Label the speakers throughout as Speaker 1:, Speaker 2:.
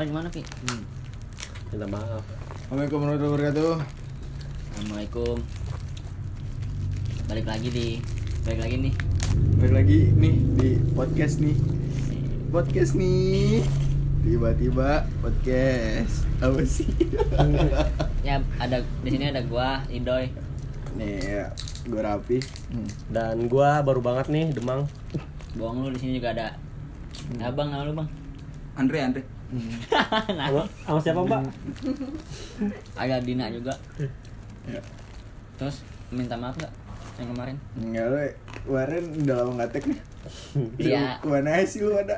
Speaker 1: Oh, di mana, Pi?
Speaker 2: Minta maaf.
Speaker 3: Hmm. Assalamualaikum warahmatullahi wabarakatuh.
Speaker 1: Assalamualaikum. Balik lagi di balik lagi nih.
Speaker 3: Balik lagi nih di podcast nih. Podcast nih. Tiba-tiba podcast. Apa sih?
Speaker 1: Ya, ada di sini ada gua, Idoy.
Speaker 3: nih, ya, gue rapi.
Speaker 2: Dan gua baru banget nih Demang.
Speaker 1: Bohong lu di sini juga ada Abang nama lu, Bang.
Speaker 4: Andre Andre
Speaker 1: nah,
Speaker 2: Sama, sama siapa Mbak?
Speaker 1: ada Dina juga.
Speaker 3: Ya.
Speaker 1: Terus minta maaf nggak yang kemarin?
Speaker 3: Enggak lo, kemarin udah lama nggak tag nih.
Speaker 1: Iya.
Speaker 3: Lu Kemana aja sih lu ada?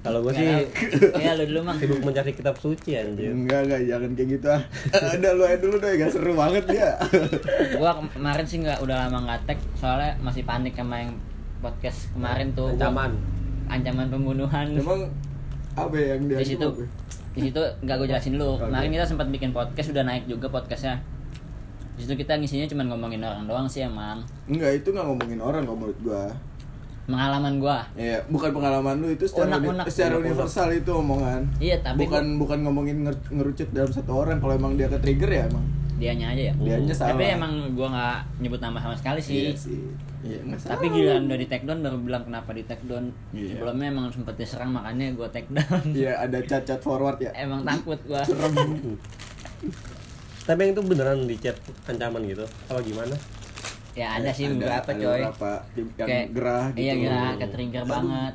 Speaker 2: Kalau gua
Speaker 1: Nggak
Speaker 2: sih
Speaker 1: tahu. Iya, lu dulu, Bang.
Speaker 2: sibuk mencari kitab suci
Speaker 1: Iya.
Speaker 2: anjir.
Speaker 3: Enggak, enggak, jangan kayak gitu ah. Eh, Udah lu aja dulu deh, gak seru banget dia.
Speaker 1: Hmm. gua kemarin sih nggak udah lama nggak tag soalnya masih panik sama yang podcast kemarin tuh
Speaker 2: Ancaman.
Speaker 1: ancaman pembunuhan
Speaker 3: Emang apa yang dia
Speaker 1: di situ
Speaker 3: apa?
Speaker 1: di situ nggak gue jelasin dulu
Speaker 3: Oke.
Speaker 1: kemarin kita sempat bikin podcast udah naik juga podcastnya di situ kita ngisinya cuma ngomongin orang doang sih emang
Speaker 3: Enggak, itu nggak ngomongin orang kalau menurut gua.
Speaker 1: pengalaman gua
Speaker 3: Iya, bukan pengalaman lu itu secara uni-
Speaker 1: Unek-unek.
Speaker 3: secara
Speaker 2: Unek-unek.
Speaker 3: universal itu omongan.
Speaker 1: iya tapi
Speaker 3: bukan bukan ngomongin nger- ngerucut dalam satu orang kalau emang dia ke trigger ya emang.
Speaker 1: gua- dianya aja ya
Speaker 3: Dianya salah.
Speaker 1: tapi emang gua nggak nyebut nama sama sekali sih,
Speaker 3: Iya sih. Iya, nggak salah.
Speaker 1: tapi giliran udah di take down baru bilang kenapa di take down
Speaker 3: Iya.
Speaker 1: sebelumnya emang sempet diserang makanya gua take down
Speaker 3: Iya, ada cacat forward ya.
Speaker 1: emang takut gua
Speaker 3: Serem.
Speaker 2: Tapi yang itu beneran di chat ancaman gitu. Apa gimana?
Speaker 1: ya ada sih
Speaker 3: Ada-
Speaker 1: beberapa
Speaker 3: ada
Speaker 1: coy
Speaker 3: beberapa yang gerah gitu.
Speaker 1: iya gerah ke trigger banget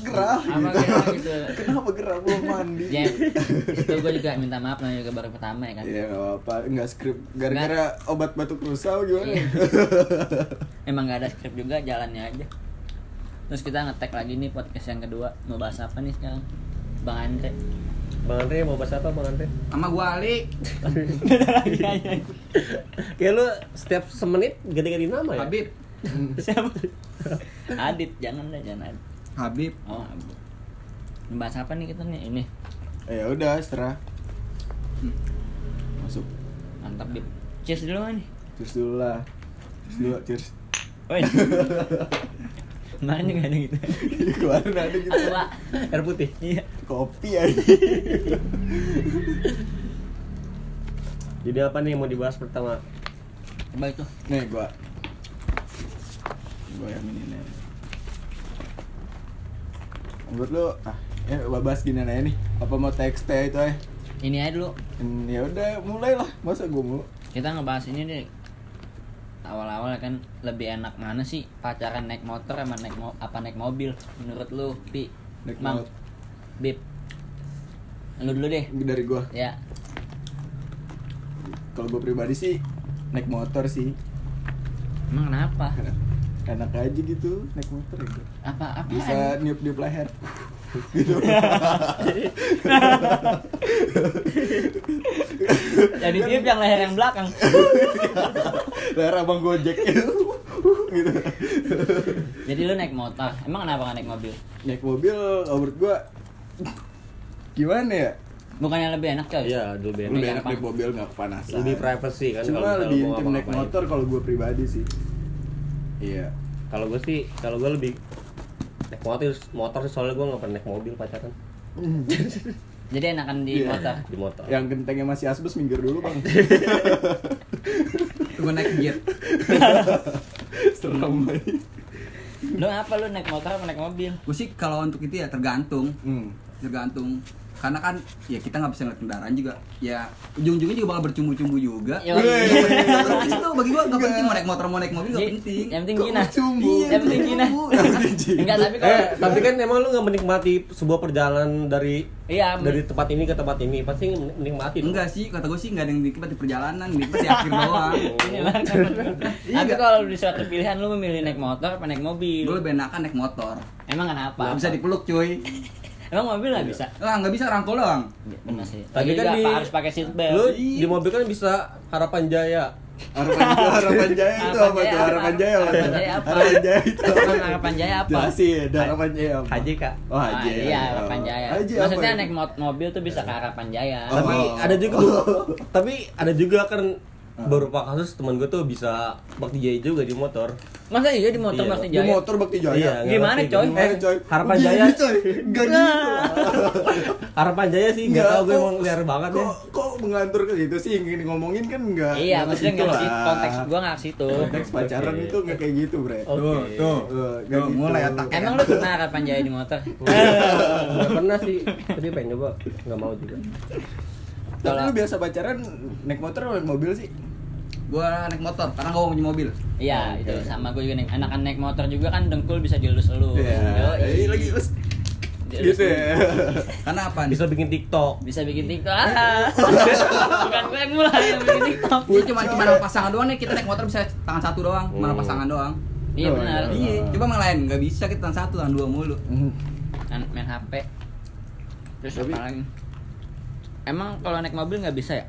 Speaker 3: Gerah
Speaker 1: Apa
Speaker 3: gitu.
Speaker 1: gerah gitu.
Speaker 3: Kenapa gerah belum mandi?
Speaker 1: ya itu gua juga minta maaf namanya juga baru pertama ya kan
Speaker 3: Iya, nggak apa-apa. Nggak skrip. Gara-gara obat batuk rusa apa gimana?
Speaker 1: Iya. Emang gak ada skrip juga, jalannya aja. Terus kita ngetek lagi nih podcast yang kedua. Mau bahas apa nih sekarang? Bang Andre.
Speaker 2: Bang Andre mau bahas apa Bang Andre?
Speaker 4: sama gua Ali
Speaker 2: Kayak lu setiap semenit ganti-ganti nama ya?
Speaker 4: Habib
Speaker 1: Siapa? Adit, jangan deh, jangan Adit.
Speaker 4: Habib
Speaker 1: Oh, Adit. Bahas apa nih kita nih? Ini.
Speaker 3: Ya udah, serah. Masuk.
Speaker 1: Mantap, Dit. Cheers dulu nggak nih.
Speaker 3: Cheers dulu lah. Cheers dulu, cheers.
Speaker 1: Woi. Kemarin juga ada gitu.
Speaker 3: Kemarin ada gitu.
Speaker 1: Tua.
Speaker 2: Air putih.
Speaker 1: Iya.
Speaker 3: Kopi aja.
Speaker 2: Jadi apa nih yang mau dibahas pertama?
Speaker 1: Coba itu.
Speaker 3: Nih gua. Gua yang ini nih. Menurut lu ah, ya bahas gini aja nih. Apa mau teks teh itu eh?
Speaker 1: Ini aja dulu.
Speaker 3: Hmm, ya udah mulailah. Masa gua mulu?
Speaker 1: Kita ngebahas ini deh. Awal-awal kan lebih enak mana sih pacaran naik motor sama naik mo- apa naik mobil menurut lu, Pi?
Speaker 3: Naik
Speaker 1: Mang.
Speaker 3: motor.
Speaker 1: Bib. Lu dulu deh.
Speaker 3: Dari gua.
Speaker 1: Ya,
Speaker 3: Kalau gua pribadi sih naik motor sih.
Speaker 1: emang kenapa?
Speaker 3: Enak aja gitu naik motor ya. gua.
Speaker 1: Apa apa?
Speaker 3: Bisa niup-niup leher.
Speaker 1: Jadi dia yang leher yang belakang.
Speaker 3: leher abang Gojek gitu.
Speaker 1: Jadi lu naik motor. Emang kenapa nggak naik mobil?
Speaker 3: Naik mobil kalau menurut gua gimana ya?
Speaker 1: Bukannya lebih enak coy?
Speaker 2: Iya, dulu
Speaker 1: Naik
Speaker 2: Ben.
Speaker 1: yang
Speaker 3: Lebih enak
Speaker 1: depan.
Speaker 3: naik mobil nggak kepanasan.
Speaker 2: Lebih privacy kan
Speaker 3: Cuma
Speaker 2: kalau misalnya gitu.
Speaker 3: lebih
Speaker 2: mau
Speaker 3: intim naik
Speaker 2: ngapa-ngapain.
Speaker 3: motor kalau gue pribadi sih. Iya.
Speaker 2: Kalau gua sih, kalau gua lebih naik motor, motor sih soalnya gua nggak pernah naik mobil pacaran
Speaker 1: Jadi enakan di
Speaker 3: Iya.
Speaker 1: motor.
Speaker 2: di motor.
Speaker 3: Yang gentengnya masih asbes minggir dulu, Bang.
Speaker 4: gua naik gear
Speaker 3: Serem banget.
Speaker 1: Lu apa lu naik motor apa naik mobil?
Speaker 4: gua sih kalau untuk itu ya tergantung
Speaker 3: Hmm.
Speaker 4: tergantung karena kan ya kita nggak bisa ngeliat kendaraan juga ya ujung-ujungnya juga bakal bercumbu-cumbu juga
Speaker 3: Iya.
Speaker 1: Yo.
Speaker 4: Terus itu bagi gua nggak
Speaker 3: Nggak.
Speaker 4: penting mau naik motor mau naik mobil nggak
Speaker 1: Ji,
Speaker 4: penting
Speaker 1: Iya, Yang penting
Speaker 3: Kok
Speaker 1: gina.
Speaker 3: bercumbu?
Speaker 1: Yang penting gina. Enggak, tapi kalau
Speaker 2: Eh, tapi kan emang lu nggak menikmati sebuah perjalanan dari
Speaker 1: Iya,
Speaker 2: dari tempat ini ke tempat ini pasti menikmati dong.
Speaker 4: enggak sih kata gua sih nggak ada yang dinikmat di perjalanan dinikmat di akhir doang
Speaker 1: ini lah. Iya. Tapi kalau di suatu pilihan lu memilih naik motor apa naik
Speaker 4: gua
Speaker 1: mobil?
Speaker 4: lebih enakan naik motor
Speaker 1: Emang kenapa?
Speaker 4: nggak bisa dipeluk cuy
Speaker 1: Emang mobil nggak bisa.
Speaker 4: lah nggak bisa rangkul doang
Speaker 1: Benar sih. Tapi
Speaker 2: Tapi kan
Speaker 1: juga
Speaker 2: di-
Speaker 1: pa- harus pakai seatbelt.
Speaker 2: Lu di mobil kan bisa harapan jaya.
Speaker 3: Harapan Jaya, harapan Jaya itu apa
Speaker 1: Harapan
Speaker 3: tuh?
Speaker 1: Jaya,
Speaker 3: Harapan Jaya apa?
Speaker 1: Harapan Jaya apa?
Speaker 3: Harapan Jaya itu.
Speaker 1: Emang harapan jaya apa?
Speaker 3: Jelasin, ada harapan Jaya apa?
Speaker 2: kak.
Speaker 3: Oh, Haji. Oh.
Speaker 1: Ah, iya, harapan jaya.
Speaker 3: Haji apa
Speaker 1: Maksudnya
Speaker 3: itu?
Speaker 1: naik mo- mobil tuh bisa ke harapan jaya.
Speaker 3: Oh.
Speaker 2: Tapi ada juga tapi ada juga kan
Speaker 4: Ah.
Speaker 2: berupa kasus temen gue tuh bisa bakti jaya juga di motor
Speaker 1: masa iya di motor
Speaker 2: Iya.
Speaker 1: masih
Speaker 3: Di
Speaker 1: jaya
Speaker 3: motor bakti jaya.
Speaker 2: Iya.
Speaker 1: gimana
Speaker 2: ngerti,
Speaker 1: coy
Speaker 3: Eh, coy.
Speaker 2: Harapan
Speaker 3: Gini,
Speaker 2: Jaya.
Speaker 3: coy. Gak gitu. lah.
Speaker 2: harapan jaya sih nggak
Speaker 3: Nggak,
Speaker 2: tau gue
Speaker 3: kok-
Speaker 2: emang liar banget ya
Speaker 3: Iya. Kok kok mengatur ke situ sih yang ingin ngomongin kan enggak.
Speaker 1: iya maksudnya nggak sih konteks
Speaker 3: gua.
Speaker 1: gua nggak ke situ
Speaker 3: Konteks pacaran
Speaker 2: Oke.
Speaker 3: itu enggak kayak gitu, Bre.
Speaker 2: Oke.
Speaker 4: Tuh, tuh.
Speaker 3: Eh, nggak
Speaker 4: Tuh,
Speaker 3: gitu.
Speaker 4: mulai otaknya.
Speaker 1: emang lu pernah harapan jaya di motor
Speaker 2: nggak pernah sih tapi pengen coba nggak mau juga
Speaker 3: Tapi lu biasa pacaran naik motor atau naik mobil sih?
Speaker 4: Gua naik motor karena gua mau punya mobil.
Speaker 1: Iya,
Speaker 2: Oke.
Speaker 1: itu sama gue juga nih. Anak naik motor juga kan dengkul bisa dielus-elus. Yoi.
Speaker 3: Iya, lagi terus
Speaker 1: Dielus-elus.
Speaker 3: gitu ya.
Speaker 4: Karena apa?
Speaker 2: bisa bikin tiktok
Speaker 1: Bisa bikin TikTok. Ah. Bukan gue yang mulai yang bikin TikTok.
Speaker 4: Iya cuma cuma sama pasangan doang nih kita naik motor bisa tangan satu doang, cuma sama
Speaker 2: Hmm.
Speaker 4: pasangan doang.
Speaker 1: Iya
Speaker 3: Oh,
Speaker 1: benar.
Speaker 4: Iya,
Speaker 3: Ah.
Speaker 4: coba yang lain nggak bisa kita tangan satu tangan dua mulu.
Speaker 1: Kan main HP. Terus
Speaker 3: Tapi-
Speaker 1: apa lagi? Emang kalau naik mobil nggak bisa ya?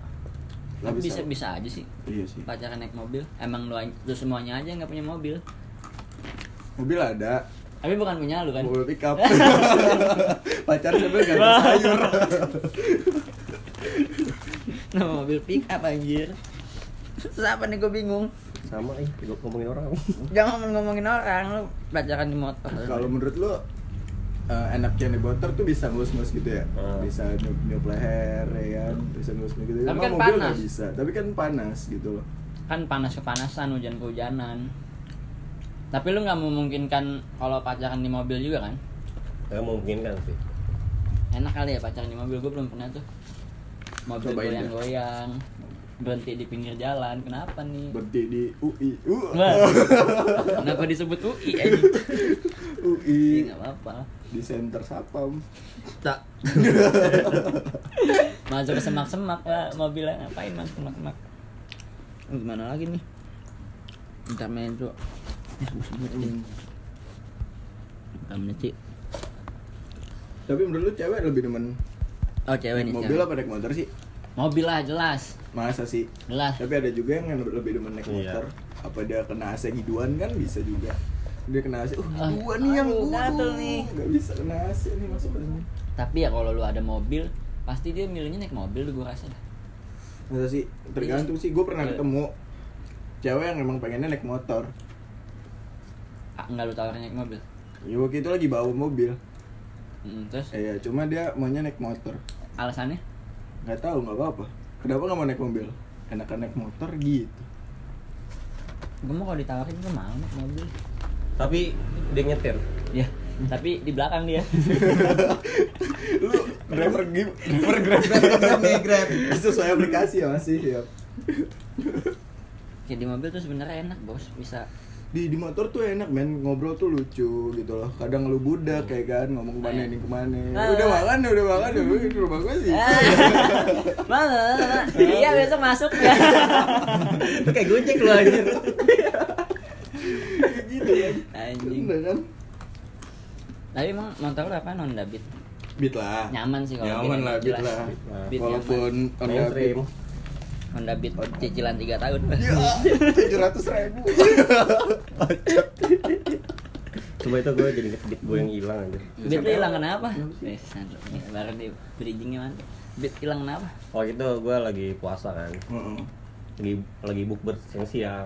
Speaker 3: Nggak
Speaker 1: Tapi
Speaker 3: bisa.
Speaker 1: bisa bisa aja sih.
Speaker 3: Iya sih.
Speaker 1: Pacaran naik mobil. Emang lu, lu semuanya aja nggak punya mobil.
Speaker 3: Mobil ada,
Speaker 1: Tapi bukan punya lu kan.
Speaker 3: mobil pickup. Pacaran sambil enggak ada sayur.
Speaker 1: Nama Nah, mobil pick up anjir. Terus apa nih gue bingung.
Speaker 2: sama eh gue ngomongin orang
Speaker 1: Jangan ngomongin orang lu pacaran di motor.
Speaker 3: Kalau menurut lu eh, enaknya naik motor tuh bisa ngelus-ngelus gitu ya
Speaker 2: Hmm.
Speaker 3: bisa nyup nyup leher ya kan bisa ngelus ngelus gitu
Speaker 1: Tapi
Speaker 3: Emang
Speaker 1: kan
Speaker 3: mobil
Speaker 1: panas.
Speaker 3: nggak bisa tapi kan panas gitu loh
Speaker 1: kan panas kepanasan hujan kehujanan tapi lu nggak memungkinkan kalau pacaran di mobil juga kan
Speaker 2: ya mungkin kan sih
Speaker 1: enak kali ya pacaran di mobil gue belum pernah tuh mobil
Speaker 3: Cobain dah.
Speaker 1: goyang-goyang berhenti di pinggir jalan kenapa nih
Speaker 3: berhenti di UI U-
Speaker 1: Wah, kenapa disebut UI aja
Speaker 3: UI
Speaker 1: Iya, nggak apa-apa
Speaker 3: di center sapam
Speaker 2: tak
Speaker 1: masuk ke semak-semak lah mobilnya ngapain masuk semak-semak Oh, gimana lagi nih ntar main tuh eh, buset, buset, ini. Berapa menit sih?
Speaker 3: tapi menurut lu cewek lebih demen
Speaker 1: Oh cewek nih
Speaker 3: naik mobil
Speaker 1: cewek.
Speaker 3: apa naik motor sih
Speaker 1: Mobil lah jelas
Speaker 3: masa sih
Speaker 1: Jelas
Speaker 3: tapi ada juga yang lebih demen naik
Speaker 2: Iya.
Speaker 3: motor apa dia kena AC hiduan kan bisa juga dia kena AC uh
Speaker 1: Ah,
Speaker 3: gua nih yang
Speaker 1: aduh,
Speaker 3: gua
Speaker 1: gatel nih.
Speaker 3: nggak bisa kena AC nih masuk ke sini.
Speaker 1: Tapi ya kalau lu ada mobil Pasti dia milihnya naik mobil gue rasa dah.
Speaker 3: Masa sih tergantung sih gue pernah ketemu cewek yang emang pengennya naik motor
Speaker 1: Ah, Enggak lu tawarin naik mobil
Speaker 3: ya waktu itu lagi bawa mobil
Speaker 1: Mm, Terus
Speaker 3: iya cuma dia maunya naik motor
Speaker 1: alasannya
Speaker 3: nggak tahu nggak apa-apa kenapa nggak mau naik mobil enakan naik motor gitu
Speaker 1: Gue mau kalau ditawarin gue mau naik mobil
Speaker 2: tapi dia nyetir
Speaker 1: Ya tapi di belakang dia
Speaker 3: lu driver gi- driver grab
Speaker 4: Grab nih, Grab.
Speaker 3: sesuai aplikasi ya masih ya
Speaker 1: Ya di mobil tuh sebenarnya enak bos Bisa
Speaker 3: di di motor tuh enak men ngobrol tuh lucu gitu loh kadang lu budak kayak kan ngomong kemana ini kemana udah makan ya, udah makan ya di rumah gue sih
Speaker 1: Ah. Mana? Iya besok masuk ya
Speaker 2: kayak gojek lu anjir
Speaker 3: Kayak gitu kan
Speaker 1: Anjing
Speaker 3: bener kan
Speaker 1: Tapi emang motor lu apa Honda Beat?
Speaker 3: beat lah
Speaker 1: Nyaman sih kalau
Speaker 3: nyaman
Speaker 1: gini,
Speaker 3: lah beat
Speaker 1: jelas.
Speaker 3: lah
Speaker 1: Beat
Speaker 3: walaupun Honda Beat
Speaker 2: mainstream
Speaker 1: Honda Beat oh, cicilan 3 tahun
Speaker 3: ya
Speaker 2: Iya.
Speaker 3: tujuh ratus ribu
Speaker 2: coba itu gue jadi ngetik gue yang hilang anjir
Speaker 1: Beat lu hilang kan, kenapa? Nih, sandal. Nih, baru di bridgingnya mantap Beat hilang kenapa?
Speaker 2: waktu itu gue lagi puasa kan lagi lagi bukber siang siang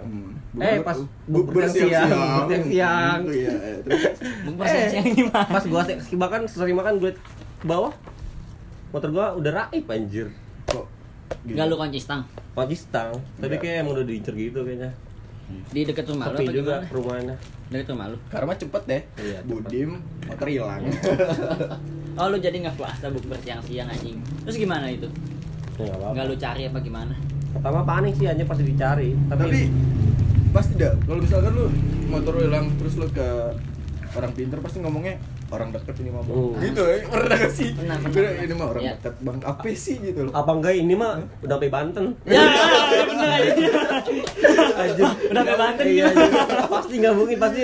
Speaker 2: eh pas bukber siang siang siang
Speaker 3: Iya, iya. Terus,
Speaker 2: Eh.
Speaker 1: Bukber siang-siang gimana?
Speaker 2: pas gue bahkan sering makan gue ke bawah motor gue udah raib anjir
Speaker 3: kok
Speaker 1: Enggak lu kunci stang
Speaker 2: kunci stang tapi
Speaker 3: Enggak.
Speaker 2: kayak emang udah diincer gitu kayaknya
Speaker 1: di deket rumah lu
Speaker 2: sepi
Speaker 1: apa
Speaker 2: juga
Speaker 1: gimana?
Speaker 2: perumahannya
Speaker 1: Deket rumah lu.
Speaker 3: karma cepet deh
Speaker 2: Iya, cepet. Iya.
Speaker 3: budim motor hilang
Speaker 1: Oh lu jadi nggak puasa bukber siang-siang anjing. Terus gimana itu?
Speaker 2: ya, nggak apa-apa
Speaker 1: Nggak lu cari apa gimana?
Speaker 2: pertama panik sih anjir pasti dicari tapi,
Speaker 3: tapi pasti tidak kalau misalkan lu motor lu hilang terus lu ke orang pinter pasti ngomongnya orang deket ini mah bang
Speaker 2: Oh.
Speaker 3: gitu ya pernah nggak sih
Speaker 1: Pernah, pernah,
Speaker 3: Pernah,
Speaker 1: pernah.
Speaker 3: ini mah orang
Speaker 1: Iya.
Speaker 3: deket bang apa sih gitu loh
Speaker 2: apa enggak ini mah udah sampai Banten
Speaker 1: Ya, bener aja.
Speaker 2: anjir
Speaker 1: Udah sampai Banten
Speaker 2: iya,
Speaker 1: gitu.
Speaker 2: anjir. pasti nggak mungkin pasti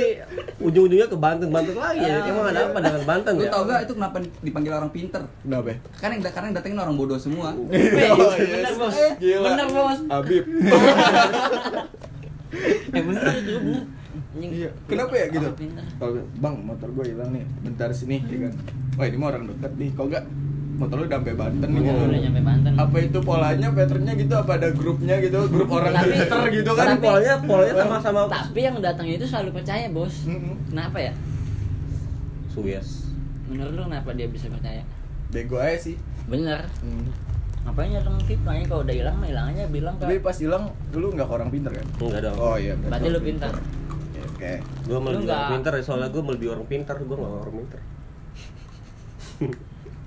Speaker 2: ujung-ujungnya ke Banten Banten lagi ya.
Speaker 1: Ah.
Speaker 2: emang ada apa dengan Banten
Speaker 4: Lu
Speaker 2: ya
Speaker 4: tau gak itu kenapa dipanggil orang pinter?
Speaker 3: kenapa ya?
Speaker 4: Kan yang karena yang datengin orang bodoh semua.
Speaker 3: Oh, yes.
Speaker 1: Bener bos.
Speaker 3: Gila.
Speaker 1: Bener bos.
Speaker 3: Habib
Speaker 1: Ya bener itu bener. Anjing.
Speaker 3: Iya. Kenapa ya gitu?
Speaker 1: Orang pinter.
Speaker 3: Kalau bang motor gue hilang nih, bentar sini, ya kan? Wah ini mah orang dekat nih, kok gak foto lu udah sampai Banten
Speaker 1: Foto
Speaker 3: gitu.
Speaker 1: lu Oh, udah nyampe Banten.
Speaker 3: Apa itu polanya, patternnya gitu apa ada grupnya gitu, grup orang
Speaker 1: Tapi-
Speaker 3: Twitter gitu kan.
Speaker 1: tapi- polanya-
Speaker 2: polanya sama-sama
Speaker 1: Tapi yang datang itu selalu percaya, Bos.
Speaker 3: Mm-mm.
Speaker 1: Kenapa ya?
Speaker 2: Suyes.
Speaker 1: Menurut lu kenapa dia bisa percaya?
Speaker 3: Oh, Bego aja sih.
Speaker 1: Bener.
Speaker 3: Hmm.
Speaker 1: Ngapain ya dong tip? Makanya kalau udah hilang, mah hilang aja bilang ke.
Speaker 3: Tapi pas hilang lu nggak ke orang pinter kan?
Speaker 2: Enggak dong.
Speaker 3: Oh iya. bener.
Speaker 1: Berarti lu pintar.
Speaker 3: Iya, Oke.
Speaker 2: Gue mau
Speaker 1: Lu
Speaker 2: lebih
Speaker 1: nggak-
Speaker 2: orang pintar ya, soalnya gue mau lebih orang pintar, gue gak orang pintar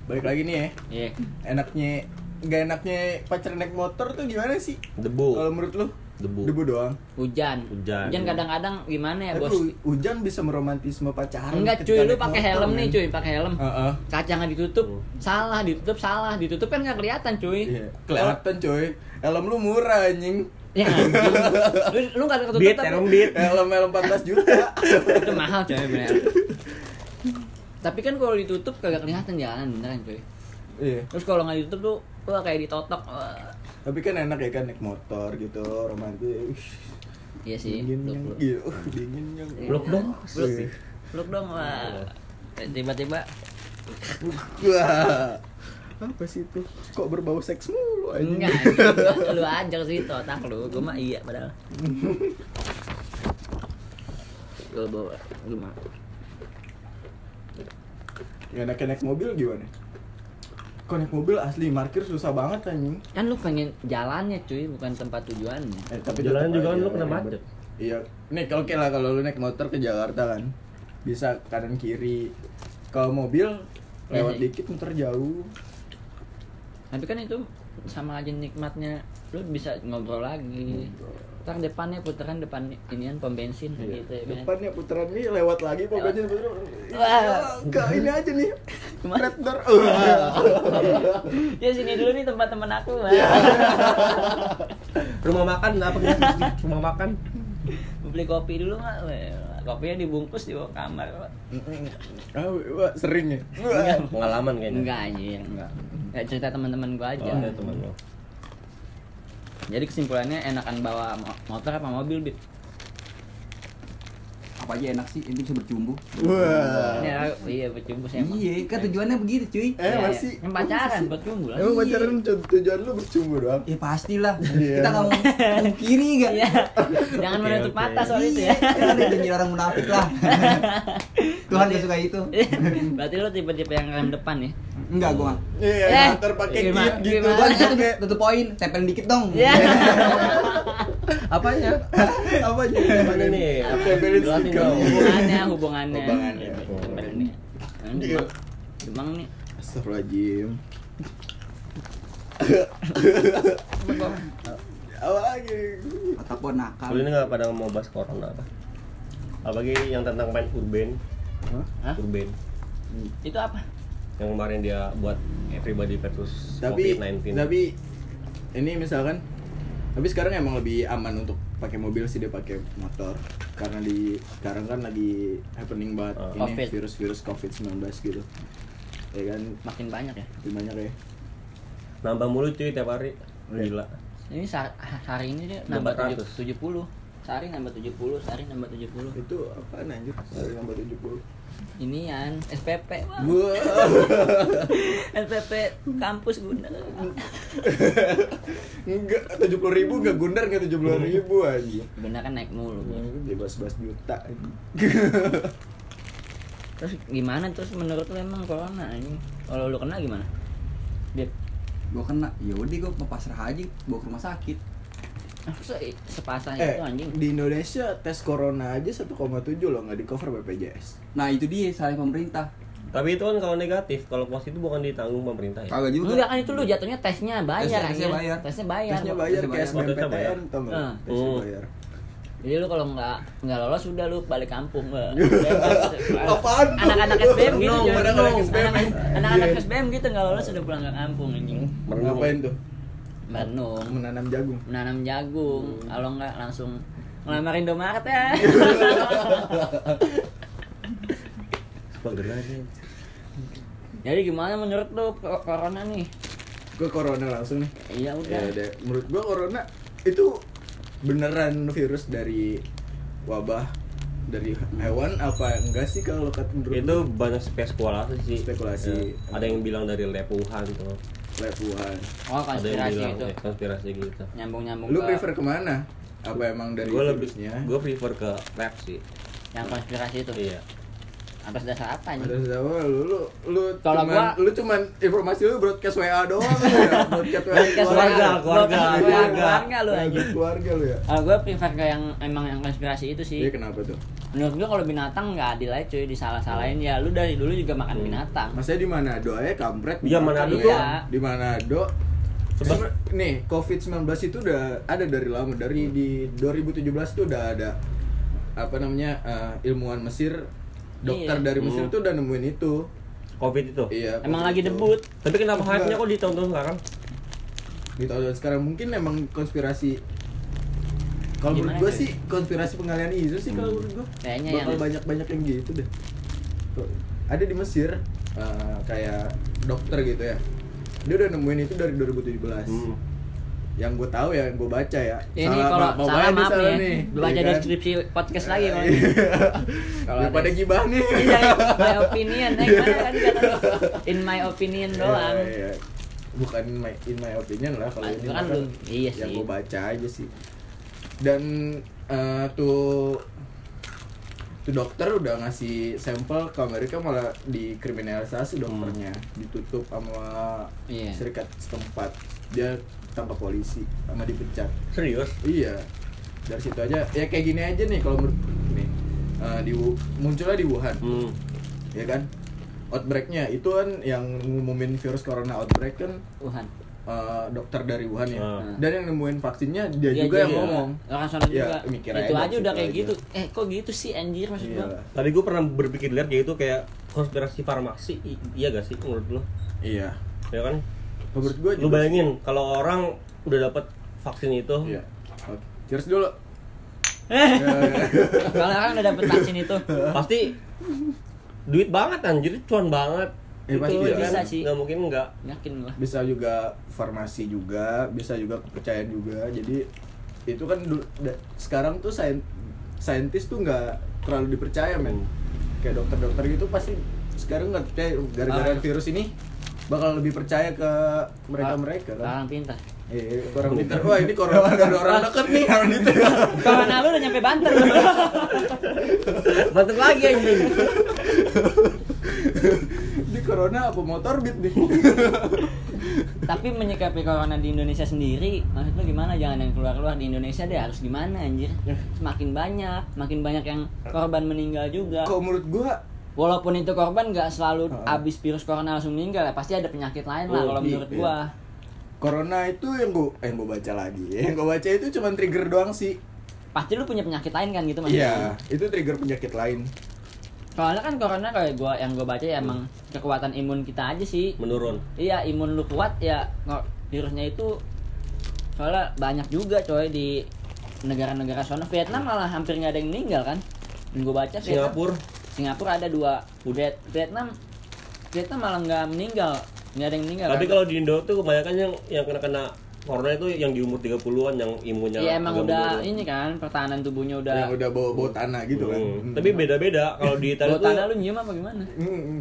Speaker 3: Balik lagi nih ya.
Speaker 1: Iya.
Speaker 3: Enaknya nggak enaknya pacar naik motor tuh gimana sih?
Speaker 2: Debu,
Speaker 3: Kalau menurut lu?
Speaker 2: debu,
Speaker 3: Debu doang.
Speaker 1: Hujan.
Speaker 2: Hujan.
Speaker 1: kadang-kadang gimana ya,
Speaker 3: Tapi
Speaker 1: Bos?
Speaker 3: hu- hujan bisa meromantisme pacaran.
Speaker 1: Enggak
Speaker 3: ketika
Speaker 1: cuy, lu
Speaker 3: naik
Speaker 1: pakai
Speaker 3: motor, kan?
Speaker 1: helm
Speaker 3: men.
Speaker 1: nih cuy, pakai helm.
Speaker 3: Heeh.
Speaker 1: Kacangnya ditutup, salah, ditutup, salah, ditutup kan nggak kelihatan cuy.
Speaker 3: Oh. Iya. Kelihatan coy. Helm lu murah anjing.
Speaker 1: Ya, anjing. lu lu nggak ada ketutup
Speaker 2: Beat,
Speaker 1: tapi
Speaker 2: emang beat
Speaker 3: Helm helm 14 juta.
Speaker 1: itu mahal cuy bener. tapi kan kalau ditutup kagak kelihatan jalan beneran cuy.
Speaker 3: Iya.
Speaker 1: Terus kalau nggak ditutup tuh, wah kayak ditotok. Wah.
Speaker 3: Tapi kan enak ya kan naik motor gitu, romantis. Ush,
Speaker 1: Iya sih. peluk,
Speaker 3: Dingin yang
Speaker 1: peluk.
Speaker 3: gitu, dingin yang.
Speaker 2: Blok dong
Speaker 1: Peluk, peluk dong.
Speaker 3: Iya,
Speaker 1: Wah. Dan Tiba-tiba
Speaker 3: Wah. Apa sih itu? Kok berbau seks mulu anjing?
Speaker 1: enggak. anjing. lu aja ke situ otak lu. Gua mah iya padahal. Gua bawa gimana?
Speaker 3: Ya naik naik mobil gimana? Kok naik mobil asli parkir susah banget anjing.
Speaker 1: Kan lu pengen jalannya cuy, bukan tempat tujuannya.
Speaker 3: Eh, tapi
Speaker 2: Jalan
Speaker 3: tetep
Speaker 2: juga kan
Speaker 3: aja
Speaker 2: lu kena
Speaker 3: ribet.
Speaker 2: macet.
Speaker 3: Iya. Nih kalau oke lah kalau lu naik motor ke Jakarta kan. Bisa kanan kiri. Kalau mobil lewat
Speaker 1: Iya.
Speaker 3: dikit muter jauh.
Speaker 1: Tapi kan itu sama aja nikmatnya lu bisa ngobrol lagi. Ntar depannya putaran depan inian pom bensin
Speaker 3: Iya.
Speaker 1: gitu ya. Ben. Iya.
Speaker 3: Depannya putaran ini lewat lagi pokoknya puteran.
Speaker 1: Wah.
Speaker 3: Enggak ini aja nih.
Speaker 1: Kemana?
Speaker 3: Red door. Wah.
Speaker 1: Ya sini dulu nih tempat teman aku. Bang.
Speaker 2: Rumah makan, apa gitu? Rumah makan
Speaker 1: Mau Beli kopi dulu mah. Wah, Kopinya dibungkus di bawah kamar. Pak.
Speaker 3: Ah, wah, sering ya. Wah.
Speaker 2: Pengalaman kayaknya
Speaker 1: Enggak anjir, enggak. Enggak cerita teman-teman gua aja.
Speaker 2: Iya. Oh,
Speaker 3: iya,
Speaker 2: ada teman
Speaker 3: Eh,
Speaker 2: lo
Speaker 1: Jadi kesimpulannya enakan bawa mo- motor apa mobil, Bit?
Speaker 4: apa aja enak sih ini bisa bercumbu
Speaker 3: Wah.
Speaker 1: Ya, iya, bercumbus emang.
Speaker 4: iya kan tujuannya begitu cuy
Speaker 3: Eh,
Speaker 1: Iya, iya.
Speaker 3: masih.
Speaker 1: Yang pacaran buat cumbu lah.
Speaker 3: Emang pacaran tu- tujuan lu bercumbu doang?
Speaker 4: ya pastilah
Speaker 3: Iya.
Speaker 4: kita nggak mau mau kiri nggak
Speaker 1: Iya. Jangan
Speaker 2: Oke,
Speaker 1: menutup
Speaker 2: oke.
Speaker 1: mata soal itu
Speaker 4: Iya,
Speaker 1: ya.
Speaker 4: jangan jadi orang munafik lah. Tuhan gak suka itu.
Speaker 1: Iya. Berarti lo tipe-tipe yang rem depan ya?
Speaker 4: Enggak gua. mah.
Speaker 3: Iya,
Speaker 1: Eh,
Speaker 3: motor pakai
Speaker 1: gimana-
Speaker 3: kit gitu
Speaker 1: gimana?
Speaker 4: Tuhan
Speaker 3: kan
Speaker 4: itu
Speaker 3: pakai
Speaker 4: tutup poin, tempel dikit dong.
Speaker 1: Iya.
Speaker 2: Apanya?
Speaker 3: apa aja?
Speaker 2: Apanya nih?
Speaker 1: Iya.
Speaker 3: Tempelin
Speaker 2: Jelasin
Speaker 3: stiker.
Speaker 2: dong.
Speaker 1: Hubungannya, hubungannya.
Speaker 3: Hubungannya.
Speaker 1: Ya, hubungannya. Kan
Speaker 3: Iya.
Speaker 1: Demang- Demang nih.
Speaker 3: Astagfirullahaladzim. Apa lagi?
Speaker 4: Mata ponakan.
Speaker 2: Kali ini nggak pada mau bahas corona apa? Apalagi yang tentang main urban
Speaker 1: Hah?
Speaker 2: Urban
Speaker 1: Itu apa?
Speaker 2: Yang kemarin dia buat everybody versus
Speaker 3: Tapi
Speaker 2: COVID-19
Speaker 3: tapi ini misalkan tapi sekarang emang lebih aman untuk pakai mobil sih dia pakai motor karena di sekarang kan lagi happening banget
Speaker 2: Ah.
Speaker 3: ini
Speaker 1: Covid.
Speaker 3: virus-virus COVID-19 gitu. Ya kan
Speaker 1: Makin banyak ya.
Speaker 3: makin banyak ya.
Speaker 2: Nambah mulu cuy tiap hari
Speaker 3: Iya.
Speaker 2: Gila
Speaker 1: Ini sa- hari ini dia nambah
Speaker 2: 400.
Speaker 1: 70. Sehari nambah 70, sehari nambah 70.
Speaker 3: Itu apa anjir? Dari nomor 70.
Speaker 1: Ini yang SPP. Wah,
Speaker 3: Wah.
Speaker 1: SPP kampus guna.
Speaker 3: Enggak, 70 ribu gak gundar gak 70 ribu aja
Speaker 1: Guna kan naik mulu.
Speaker 3: Bebas-bebas juta anjing.
Speaker 1: Terus gimana terus menurut lo emang corona ini? Kalau lo kena gimana? Beb.
Speaker 4: Gua kena. Ya udah gua mau pasrah aja, bawa ke rumah sakit.
Speaker 1: Ah, masa i- sepasang
Speaker 3: Eh,
Speaker 1: Nah, itu anjing.
Speaker 3: di Indonesia tes corona aja 1,7 loh nggak di cover BPJS
Speaker 4: Nah, itu dia salah pemerintah.
Speaker 2: Tapi itu kan kalau negatif, kalau positif bukan ditanggung pemerintah ya?
Speaker 4: Kagak juga.
Speaker 1: Enggak kan itu lu jatuhnya tesnya bayar
Speaker 4: Tesnya- tesnya
Speaker 1: anjing.
Speaker 4: bayar.
Speaker 1: Tesnya bayar.
Speaker 3: Tesnya bayar kayak
Speaker 4: tesnya bayar.
Speaker 2: Oh, tesnya bayar.
Speaker 3: SBMPTN tau nggak?
Speaker 1: Ah.
Speaker 3: Tesnya
Speaker 2: Hmm.
Speaker 3: bayar
Speaker 1: Jadi lu kalau nggak nggak lolos sudah lu balik kampung. Wah.
Speaker 3: Apaan tuh?
Speaker 1: Anak-anak SBM gitu.
Speaker 3: Renung,
Speaker 1: cuy,
Speaker 3: padahal anak
Speaker 1: renung.
Speaker 3: SBM.
Speaker 1: Anak- Anak-anak
Speaker 3: Iya.
Speaker 1: SBM gitu nggak lolos sudah pulang ke kampung anjing.
Speaker 2: Merenung.
Speaker 3: Ngapain tuh?
Speaker 1: Merenung,
Speaker 3: Menanam jagung
Speaker 1: menanam
Speaker 3: Hmm.
Speaker 1: jagung, kalau nggak langsung ngelamar Indomaret ya.
Speaker 2: Sebagai aja
Speaker 1: Jadi gimana menurut lu pro- corona nih?
Speaker 3: Gue corona langsung nih
Speaker 1: Iya udah.
Speaker 3: Ya udah, menurut gua corona itu beneran virus dari wabah dari hewan apa enggak sih kalau kata menurut
Speaker 2: itu banyak spekulasi sih
Speaker 3: Spekulasi.
Speaker 2: Ya, ada yang bilang dari lepuhan tuh
Speaker 3: lepuhan
Speaker 1: Oh
Speaker 2: ada yang
Speaker 1: konspirasi
Speaker 2: bilang
Speaker 1: itu
Speaker 2: ya, konspirasi gitu
Speaker 1: nyambung nyambung
Speaker 3: lu
Speaker 1: ke
Speaker 3: prefer kemana apa emang dari
Speaker 2: gue lebih
Speaker 3: virusnya?
Speaker 2: gue prefer ke rap sih
Speaker 1: yang konspirasi itu.
Speaker 2: iya
Speaker 1: Atas dasar apa
Speaker 3: Ada
Speaker 1: nih?
Speaker 3: siapa lu lu lu
Speaker 1: Kalau gua-
Speaker 3: cuman, lu cuman informasi lu broadcast WA doang lu ya broadcast WA
Speaker 1: Broadcast
Speaker 2: keluarga,
Speaker 1: WA.
Speaker 2: keluarga,
Speaker 1: Broadcast WA, keluarga
Speaker 2: keluarga.
Speaker 1: lu aja.
Speaker 3: Broadcast keluarga lu ya
Speaker 1: Kalau gue Eh, prefer ke yang emang yang konspirasi itu sih.
Speaker 3: Iya kenapa tuh?
Speaker 1: Menurut gue kalau binatang nggak adil aja cuy disalah-salahin ya. Lu dari dulu juga
Speaker 3: Iya.
Speaker 1: makan binatang.
Speaker 3: Maksudnya di Manado aja kampret.
Speaker 2: Iya, Manado
Speaker 1: tuh.
Speaker 3: Di Manado.
Speaker 2: Coba.
Speaker 3: Coba nih COVID-19 itu udah ada dari lama dari di 2017 tuh udah ada apa namanya eh, ilmuwan Mesir dokter
Speaker 1: Iya.
Speaker 3: dari Mesir
Speaker 2: Hmm.
Speaker 3: tuh udah nemuin itu.
Speaker 2: covid itu
Speaker 3: Iya.
Speaker 1: Emang
Speaker 3: waktu
Speaker 1: lagi
Speaker 3: itu.
Speaker 1: debut.
Speaker 2: tapi kenapa
Speaker 3: Enggak.
Speaker 2: hype nya kok di tahun-tahun sekarang
Speaker 3: Di tahun Gitu. sekarang mungkin emang konspirasi kalau menurut
Speaker 1: Gimana
Speaker 3: gue
Speaker 1: tuh?
Speaker 3: sih konspirasi pengalian isu sih kalau menurut gue
Speaker 1: Kayaknya
Speaker 3: bakal
Speaker 1: yang-
Speaker 3: banyak-banyak yang gitu deh. Tuh, Ada di Mesir eh, kayak dokter gitu ya. Dia udah nemuin itu dari 2017.
Speaker 2: Hmm.
Speaker 3: Yang gue tahu ya, yang gue baca ya.
Speaker 1: Ya, ini kalau
Speaker 3: mau
Speaker 1: salah maaf nih, ya. baca
Speaker 3: Iya kan?
Speaker 1: deskripsi podcast lagi kalau
Speaker 3: Iya.
Speaker 1: ini. Kalau
Speaker 3: Daripada
Speaker 1: ada-
Speaker 3: gibah nih.
Speaker 1: Iya, my opinion. Eh, gimana kan kata in my opinion doang.
Speaker 3: Iya, iya. Bukan my, in my opinion lah kalau
Speaker 1: Mas,
Speaker 3: ini
Speaker 1: itu kan
Speaker 3: mah
Speaker 1: lu- iya
Speaker 3: Yang
Speaker 1: sih.
Speaker 3: gue baca aja sih. Dan eh, tuh tuh dokter udah ngasih sampel ke Amerika malah dikriminalisasi dokternya, ditutup sama
Speaker 1: Hmm. Iya.
Speaker 3: serikat setempat. Dia tambah polisi sama dipecat.
Speaker 2: serius
Speaker 3: Iya. Dari situ aja ya kayak gini aja nih kalau menurut nih. Eh, di Wu- munculnya di Wuhan
Speaker 2: hmm.
Speaker 3: ya kan outbreaknya itu kan yang ngumumin virus corona outbreak kan
Speaker 1: Tuhan.
Speaker 3: eh, dokter dari Wuhan ya
Speaker 2: Ah.
Speaker 3: dan yang nemuin vaksinnya
Speaker 1: Iya, Dia
Speaker 3: dia Ya juga yang
Speaker 1: juga.
Speaker 3: ngomong
Speaker 1: Orang sono
Speaker 3: Ya,
Speaker 1: juga.
Speaker 3: mikir
Speaker 1: Itu
Speaker 3: aja,
Speaker 1: aja udah
Speaker 3: situ
Speaker 1: kayak
Speaker 3: aja.
Speaker 1: gitu. Eh, kok gitu sih anjir maksud
Speaker 3: iya
Speaker 1: gua?
Speaker 2: tapi gue pernah berpikir lihat kayak itu kayak konspirasi farmasi I- iya gak sih menurut lo
Speaker 3: iya
Speaker 2: ya kan
Speaker 3: menurut gue
Speaker 2: lu bayangin kalau orang udah dapat vaksin itu
Speaker 3: iya Oke. cheers dulu
Speaker 1: Eh,
Speaker 3: Ya, ya.
Speaker 1: Kalau orang udah dapet vaksin itu
Speaker 2: pasti duit banget anjir cuan banget
Speaker 3: Eh,
Speaker 2: Itu
Speaker 3: pasti
Speaker 2: ya
Speaker 3: bisa
Speaker 2: kan?
Speaker 1: sih.
Speaker 2: nggak mungkin nggak
Speaker 1: yakin lah.
Speaker 3: bisa juga farmasi juga bisa juga kepercayaan juga jadi itu kan du- da- sekarang tuh sain- saintis tuh nggak terlalu dipercaya men kayak dokter-dokter gitu pasti sekarang nggak percaya gara-gara
Speaker 1: Ah.
Speaker 3: virus ini bakal lebih percaya ke mereka-mereka kan
Speaker 1: Orang pintar.
Speaker 3: Eh, orang pintar. Wah, ini corona ada orang deket nih. Orang itu.
Speaker 1: Corona lu udah nyampe Banten.
Speaker 2: Banten lagi anjing.
Speaker 3: Ini corona apa motor beat nih?
Speaker 1: Tapi menyikapi corona di Indonesia sendiri, maksud lu gimana? Jangan yang keluar-keluar di Indonesia deh harus gimana anjir? Semakin banyak, makin banyak yang korban meninggal juga.
Speaker 3: Kalau menurut gua
Speaker 1: Walaupun itu korban nggak selalu
Speaker 3: Heeh.
Speaker 1: abis virus corona langsung meninggal ya, pasti ada penyakit lain lah
Speaker 3: Oh,
Speaker 1: kalau
Speaker 3: iya,
Speaker 1: menurut
Speaker 3: iya.
Speaker 1: gua.
Speaker 3: corona itu yang gua eh, yang gua baca lagi. Yang gua baca itu cuma trigger doang sih.
Speaker 1: Pasti lu punya penyakit lain kan gitu
Speaker 3: Iya, itu trigger penyakit lain.
Speaker 1: Soalnya kan corona kayak gua yang gua baca ya
Speaker 3: Iya.
Speaker 1: emang kekuatan imun kita aja sih.
Speaker 2: menurun.
Speaker 1: Iya, imun lu kuat ya ngo- virusnya itu soalnya banyak juga coy di negara-negara sana Vietnam malah hampir nggak ada yang meninggal kan. Yang gua baca Vietnam-
Speaker 2: Singapura
Speaker 1: Singapura ada dua. Viet- Vietnam Vietnam malah nggak meninggal, nggak ada yang meninggal.
Speaker 2: Tapi
Speaker 1: kan?
Speaker 2: kalau di Indo tuh kebanyakan yang yang kena-kena corona itu yang di umur 30-an yang imunnya
Speaker 1: Iya emang
Speaker 2: agak
Speaker 1: udah
Speaker 2: menurun.
Speaker 1: ini kan pertahanan tubuhnya udah.
Speaker 3: Yang Iya, udah bawa bawa tanah gitu kan.
Speaker 2: Hmm. Tapi beda-beda kalau di Italia
Speaker 1: Buat
Speaker 2: tuh
Speaker 1: tanah lu nyium apa gimana?
Speaker 3: Hmm,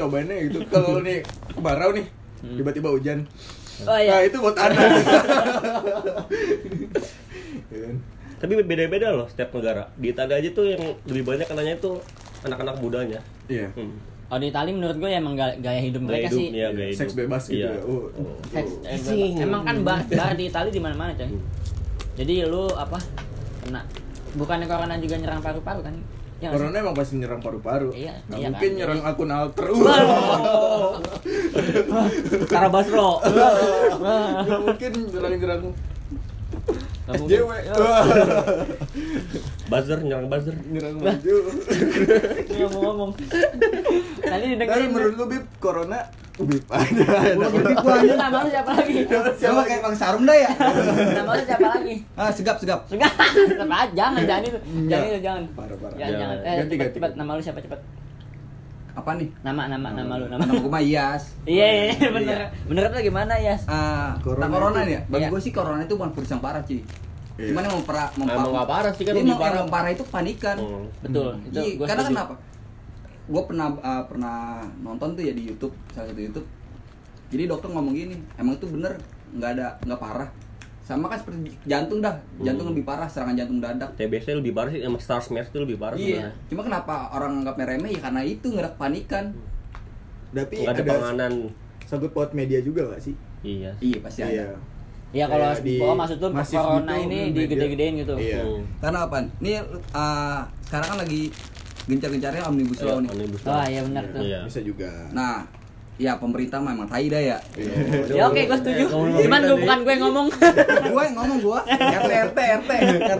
Speaker 3: cobainnya gitu. Kalau nih kemarau nih, tiba-tiba hujan.
Speaker 1: Hmm. Oh
Speaker 3: Nah,
Speaker 1: iya.
Speaker 3: itu buat tanah. Ya kan?
Speaker 2: tapi beda-beda loh setiap negara. Di Italia aja tuh yang lebih banyak kenanya itu anak-anak mudanya.
Speaker 3: Iya.
Speaker 2: Hmm.
Speaker 1: Oh di Itali menurut gue ya emang ga- gaya hidup mereka sih.
Speaker 2: ya, gaya
Speaker 3: Seks
Speaker 2: hidup.
Speaker 3: bebas gitu
Speaker 2: Iya.
Speaker 3: ya. Oh.
Speaker 2: Oh.
Speaker 1: Seks,
Speaker 3: Oh.
Speaker 1: eh, bebas. emang kan bar, bar di Itali di mana-mana coy. Jadi lu apa kena bukannya corona juga nyerang paru-paru kan? Ya, nggak sih?
Speaker 3: Corona emang pasti nyerang paru-paru.
Speaker 1: Iya,
Speaker 3: Nggak
Speaker 1: iya
Speaker 3: mungkin
Speaker 1: kan?
Speaker 3: nyerang akun alter.
Speaker 2: Tara Basro.
Speaker 3: Nggak mungkin nyerang-nyerang
Speaker 1: Nggak mungkin.
Speaker 3: SJW.
Speaker 1: Ya,
Speaker 2: buzzer nyerang buzzer.
Speaker 3: nyerang maju.
Speaker 1: nggak mau ngomong. Tadi
Speaker 3: Tapi
Speaker 1: didengerin.
Speaker 3: menurut lu Bib, corona Bib aja.
Speaker 1: Lu nama lu siapa lagi?
Speaker 4: Coba kayak Bang Sarum dah ya.
Speaker 1: Nama lu siapa lagi?
Speaker 4: Ah, segap segap.
Speaker 1: Enggak, jangan, jangan, jangan itu, jangan itu, jangan.
Speaker 3: Parah, parah.
Speaker 1: Jangan, jangan. Eh,
Speaker 3: Ganti,
Speaker 1: cepet,
Speaker 3: ganti.
Speaker 1: cepet. Nama lu siapa cepet?
Speaker 4: Apa nih?
Speaker 1: Nama, nama, nama lu, nama.
Speaker 4: Nama gue mah Yas.
Speaker 1: Iya, iya,
Speaker 4: Iya.
Speaker 1: bener. Menurut lu gimana ya?
Speaker 4: Ah,
Speaker 3: Corona
Speaker 4: corona, corona
Speaker 3: itu-
Speaker 4: nih ya. Bagi
Speaker 1: Iya.
Speaker 4: gue sih corona itu bukan virus yang parah, cuy.
Speaker 3: Iya.
Speaker 4: Cuman yang mempera- mempa-
Speaker 2: Emang nggak parah sih kan
Speaker 4: Iya,
Speaker 2: lebih
Speaker 4: emang-
Speaker 2: parah.
Speaker 4: Emang parah itu panikan.
Speaker 2: Hmm.
Speaker 1: Betul. Itu
Speaker 4: Iya,
Speaker 1: gua
Speaker 4: karena
Speaker 1: setuju.
Speaker 4: kenapa? Gue pernah uh, pernah nonton tuh ya di YouTube salah satu YouTube. Jadi dokter ngomong gini, emang itu bener nggak ada nggak parah. Sama kan seperti jantung dah, jantung
Speaker 2: Hmm.
Speaker 4: lebih parah serangan jantung dadak.
Speaker 2: TBC lebih parah sih, emang Star Smash itu lebih parah
Speaker 4: Iya,
Speaker 2: sebenarnya.
Speaker 4: cuma kenapa orang nganggapnya remeh ya karena itu ngerak panikan.
Speaker 2: Hmm.
Speaker 3: Tapi
Speaker 2: Nggak ada
Speaker 3: Iya, ada
Speaker 2: penganan.
Speaker 3: sangkut paut media juga gak sih?
Speaker 2: Iya.
Speaker 4: Iya pasti ada.
Speaker 3: Iya.
Speaker 1: Iya kalau
Speaker 3: Kayak di-
Speaker 1: oh, maksud lu
Speaker 3: masif
Speaker 1: corona
Speaker 3: gitu,
Speaker 1: ini
Speaker 3: media.
Speaker 1: digede-gedein gitu.
Speaker 3: Iya.
Speaker 2: Hmm.
Speaker 4: Karena apa? Ini uh, sekarang kan lagi gencar-gencarnya omnibus law
Speaker 2: Iya,
Speaker 4: nih.
Speaker 2: Omnibus Law.
Speaker 1: Oh iya benar tuh.
Speaker 2: Iya.
Speaker 3: Bisa juga. Iya.
Speaker 4: Nah, ya pemerintah memang tai dah ya.
Speaker 1: Ya oke, gue setuju.
Speaker 2: Eh, ngomong-ngomong
Speaker 1: Cuman
Speaker 2: tadi.
Speaker 1: gue bukan gue yang ngomong.
Speaker 4: gue yang ngomong gue RT RT RT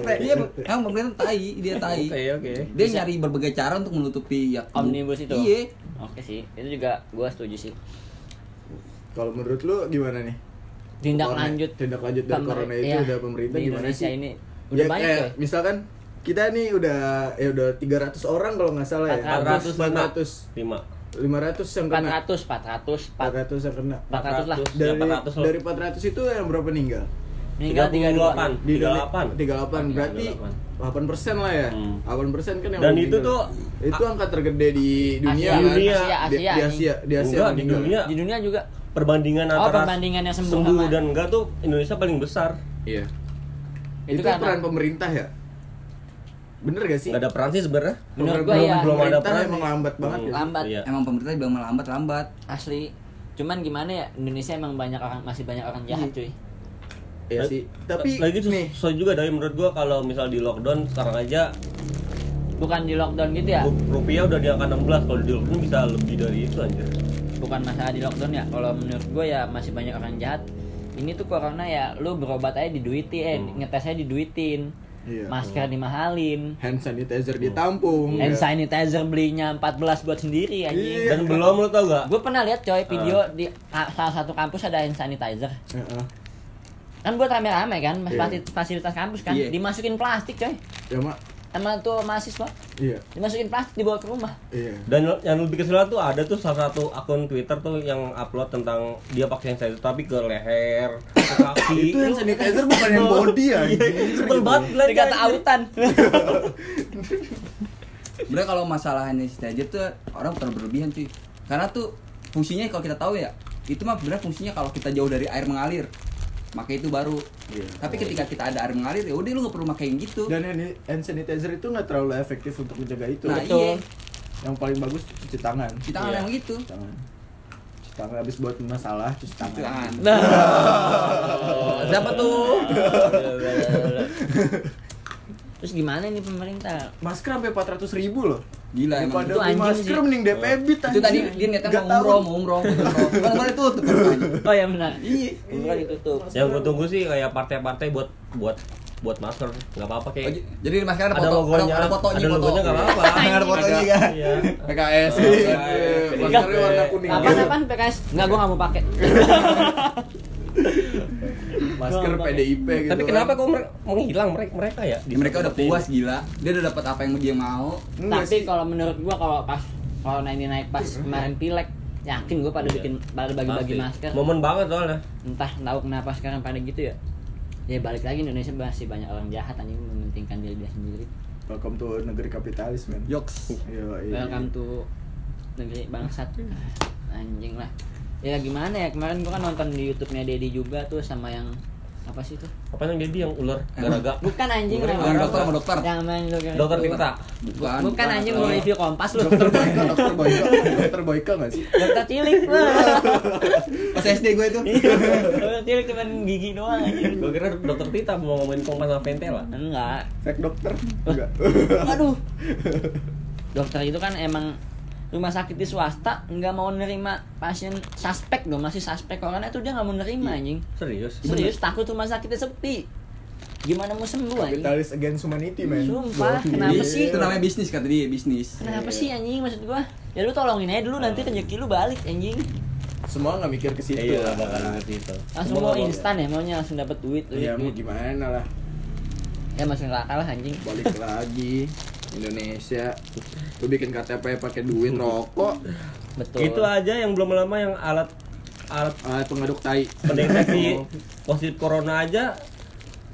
Speaker 4: RT dia emang pemerintah tai dia tai
Speaker 2: Oke, ya. oke.
Speaker 4: dia nyari berbagai cara untuk menutupi ya
Speaker 1: Omnibus itu.
Speaker 4: iya
Speaker 1: Oke sih, itu juga gue setuju sih.
Speaker 3: Kalau menurut lu gimana nih?
Speaker 1: Tindak
Speaker 3: Corona-
Speaker 1: lanjut.
Speaker 3: tindak lanjut dari
Speaker 1: pemer-
Speaker 3: corona itu
Speaker 1: iya,
Speaker 3: udah pemerintah
Speaker 1: di
Speaker 3: gimana
Speaker 1: Indonesia
Speaker 3: sih?
Speaker 1: ini udah
Speaker 3: Ya,
Speaker 1: banyak
Speaker 3: kayak
Speaker 1: ya.
Speaker 3: Misalkan kita nih udah ya udah 300 orang kalau nggak salah ya.
Speaker 1: 400,
Speaker 3: 400
Speaker 2: lima.
Speaker 3: 500 yang kena.
Speaker 1: 400, 400, 400,
Speaker 3: 400 yang kena.
Speaker 1: 400 lah.
Speaker 2: 400.
Speaker 3: Dari
Speaker 2: 400 loh.
Speaker 3: dari 400 itu yang berapa meninggal?
Speaker 1: Meninggal
Speaker 2: 38.
Speaker 1: 32.
Speaker 3: Di
Speaker 2: 38.
Speaker 3: 38 berarti 8% lah ya.
Speaker 2: Hmm.
Speaker 3: 8% kan yang
Speaker 2: Dan
Speaker 3: meninggal.
Speaker 2: itu tuh-
Speaker 3: itu angka tergede di dunia
Speaker 1: Asia,
Speaker 3: kan?
Speaker 2: Dunia.
Speaker 1: Asia,
Speaker 3: Di, di
Speaker 1: Asia,
Speaker 3: Asia,
Speaker 1: nih.
Speaker 3: di Asia
Speaker 2: Enggak, di
Speaker 3: meninggal.
Speaker 2: dunia.
Speaker 1: Di dunia juga
Speaker 2: Perbandingan
Speaker 1: Oh,
Speaker 2: antara
Speaker 1: perbandingan yang sembuh sama-
Speaker 2: dan enggak tuh Indonesia paling besar.
Speaker 3: Iya.
Speaker 1: Itu
Speaker 3: Itu,
Speaker 1: karena-
Speaker 3: peran pemerintah ya? Bener gak sih?
Speaker 2: Enggak ada peran sih sebenarnya.
Speaker 1: Menurut
Speaker 3: Program-
Speaker 1: gua
Speaker 3: program
Speaker 1: ya. Hmm,
Speaker 2: Belum ada
Speaker 3: pemerintah
Speaker 2: peran
Speaker 3: emang
Speaker 2: sih.
Speaker 3: lambat banget ya.
Speaker 1: Lambat.
Speaker 2: Iya.
Speaker 4: emang pemerintah bilang melambat lambat
Speaker 1: asli. Cuman gimana ya Indonesia emang banyak orang masih banyak orang jahat cuy.
Speaker 3: Iya
Speaker 2: Lagi-
Speaker 3: sih. Tapi
Speaker 2: Nah, lagi sus-
Speaker 3: nih,
Speaker 2: susah juga dari menurut gua kalau misal di lockdown sekarang aja
Speaker 1: Bukan di lockdown gitu ya.
Speaker 2: ru- rupiah udah di angka 16 kalau di lockdown bisa lebih dari itu anjir.
Speaker 3: Iya.
Speaker 1: bukan masalah di lockdown ya kalau menurut gue ya masih banyak orang jahat ini tuh corona ya lu berobat aja diduitin eh,
Speaker 2: Hmm.
Speaker 1: ngetesnya diduitin
Speaker 3: Iya.
Speaker 1: masker dimahalin
Speaker 3: hand
Speaker 2: Oh.
Speaker 3: sanitizer ditampung.
Speaker 1: hand
Speaker 3: ya.
Speaker 1: sanitizer belinya 14 buat sendiri anjing
Speaker 3: Iya.
Speaker 2: Dan belum lo tau gak?
Speaker 1: gue pernah lihat coy video di a- salah satu kampus ada hand sanitizer
Speaker 3: Heeh.
Speaker 1: kan buat rame-rame kan mas
Speaker 3: Iya.
Speaker 1: fasi- fasilitas kampus kan
Speaker 4: Iya.
Speaker 1: dimasukin plastik coy
Speaker 3: Ya, Mak.
Speaker 1: sama tuh mahasiswa
Speaker 3: Iya.
Speaker 1: dimasukin plastik dibawa ke rumah
Speaker 3: Iya.
Speaker 2: Dan lo- yang lebih kesel tuh ada tuh salah satu akun Twitter tuh yang upload tentang dia pakai hand sanitizer tapi ke leher, ke kaki.
Speaker 3: Itu hand sanitizer bukan hand body
Speaker 2: Iya,
Speaker 3: ya. anjing.
Speaker 2: Sebel banget lah
Speaker 1: dikata autan
Speaker 4: sebenarnya kalau masalahnya si Tajer tuh orang terlalu berlebihan cuy karena tuh fungsinya kalau kita tahu ya itu mah benar fungsinya kalau kita jauh dari air mengalir maka itu baru
Speaker 3: Iya.
Speaker 4: tapi ketika kita ada air mengalir ya udah lu nggak perlu pakai yang gitu
Speaker 3: Dan hand- hand sanitizer itu nggak terlalu efektif untuk menjaga itu.
Speaker 4: nah
Speaker 1: Betul.
Speaker 4: iya
Speaker 3: Yang paling bagus cuci tangan.
Speaker 4: cuci tangan
Speaker 2: Iya.
Speaker 4: emang gitu
Speaker 3: Cuci tangan. Cuci tangan habis buat masalah cuci
Speaker 4: Cuci
Speaker 3: tangan.
Speaker 4: tangan.
Speaker 1: nah
Speaker 2: Oh, Siapa tuh?
Speaker 1: terus gimana nih pemerintah
Speaker 3: Masker sampai 400 ribu loh.
Speaker 4: Gila,
Speaker 3: Daripada
Speaker 4: emang
Speaker 1: itu
Speaker 3: beli
Speaker 1: anjing
Speaker 3: masker
Speaker 1: sih.
Speaker 3: mending DPBit
Speaker 4: itu tadi dia niatnya mau umroh mau umroh mau umroh kan kemarin tutup kan
Speaker 1: Oh ya benar. Iya. Bukan ditutup.
Speaker 2: yang gue Ya, tunggu sih kayak partai-partai buat buat buat masker nggak apa-apa
Speaker 4: Oh,
Speaker 2: kayak
Speaker 4: j- Jadi di masker ada
Speaker 2: ada
Speaker 4: foto,
Speaker 2: logonya
Speaker 4: ada, ada fotonya,
Speaker 2: ada
Speaker 4: foto.
Speaker 2: logonya nggak apa-apa
Speaker 4: Ada fotonya kan.
Speaker 2: Iya.
Speaker 3: PKS.
Speaker 4: Iya.
Speaker 3: Maskernya warna kuning.
Speaker 1: Kapan kapan PKS? Enggak, gua nggak mau pakai.
Speaker 3: Masker
Speaker 1: Gampang.
Speaker 3: PDIP gitu.
Speaker 2: tapi
Speaker 3: kan.
Speaker 2: kenapa kok mere- menghilang mereka mereka ya
Speaker 4: Ya, mereka udah puas gila. Dia udah dapat apa yang dia mau.
Speaker 3: Enggak
Speaker 1: Tapi
Speaker 3: sih.
Speaker 1: kalau menurut gua kalau pas kalau ini naik pas kemarin pilek, yakin gua pada
Speaker 2: Iya.
Speaker 1: bikin pada
Speaker 2: Pasti.
Speaker 1: bagi-bagi masker.
Speaker 2: momen banget soalnya
Speaker 1: Entah tahu kenapa sekarang pada gitu ya. Ya balik lagi Indonesia masih banyak orang jahat anjing mementingkan diri dia sendiri.
Speaker 3: Welcome to negeri kapitalis, men.
Speaker 4: Yoks.
Speaker 3: Yo, iya.
Speaker 1: Welcome to negeri bangsat. Anjing lah. Ya gimana ya kemarin gua kan nonton di YouTube-nya Dedi juga tuh sama yang apa sih tuh?
Speaker 2: apa yang jadi yang ular garaga
Speaker 1: Bukan anjing
Speaker 2: Bukan,
Speaker 1: lah.
Speaker 4: Yang dokter sama dokter.
Speaker 1: Yang main lu kan.
Speaker 2: dokter Tirta
Speaker 4: Bukan.
Speaker 1: Bukan anjing
Speaker 4: dokter.
Speaker 1: mau review kompas lu.
Speaker 3: Dokter Boyka, dokter Boyka, dokter Boyka nggak sih?
Speaker 1: Dokter cilik.
Speaker 4: Pas SD gue itu.
Speaker 1: Iya.
Speaker 2: Iya.
Speaker 1: Dokter cilik cuma gigi doang anjing.
Speaker 2: gue kira dokter Tirta mau ngomongin kompas sama pentela
Speaker 1: Enggak.
Speaker 3: Fake dokter? Enggak.
Speaker 1: Aduh. Dokter itu kan emang rumah sakit di swasta nggak mau nerima pasien suspek dong masih suspek orangnya tuh dia nggak mau
Speaker 2: Iya.
Speaker 1: nerima anjing
Speaker 2: serius
Speaker 4: Iya,
Speaker 1: serius takut rumah sakitnya sepi gimana mau sembuh anjing
Speaker 3: Kapitalis against humanity, men.
Speaker 1: Sumpah,
Speaker 3: Gokil.
Speaker 1: kenapa
Speaker 4: Iya,
Speaker 1: sih?
Speaker 4: Itu namanya bisnis kata dia, bisnis.
Speaker 1: kenapa
Speaker 2: Iya.
Speaker 1: sih anjing maksud gua ya lu tolongin aja dulu
Speaker 2: Ah.
Speaker 1: nanti rezeki lu balik anjing
Speaker 3: Semua nggak mikir ke situ.
Speaker 2: iya
Speaker 4: Gitu.
Speaker 3: lah.
Speaker 2: nggak bakal ngerti itu
Speaker 1: langsung
Speaker 2: Semua
Speaker 1: mau
Speaker 2: nggak bakal.
Speaker 1: instan ya maunya langsung dapat duit duit,
Speaker 3: Iya, mau
Speaker 1: duit.
Speaker 3: gimana lah.
Speaker 1: ya masuk neraka lah anjing
Speaker 3: Balik lagi Indonesia. Lu bikin KTP pakai duit rokok,
Speaker 1: betul
Speaker 2: itu Gitu aja yang belum lama yang alat alat
Speaker 3: alat Eh, pengaduk tai.
Speaker 2: pendeteksi positif corona aja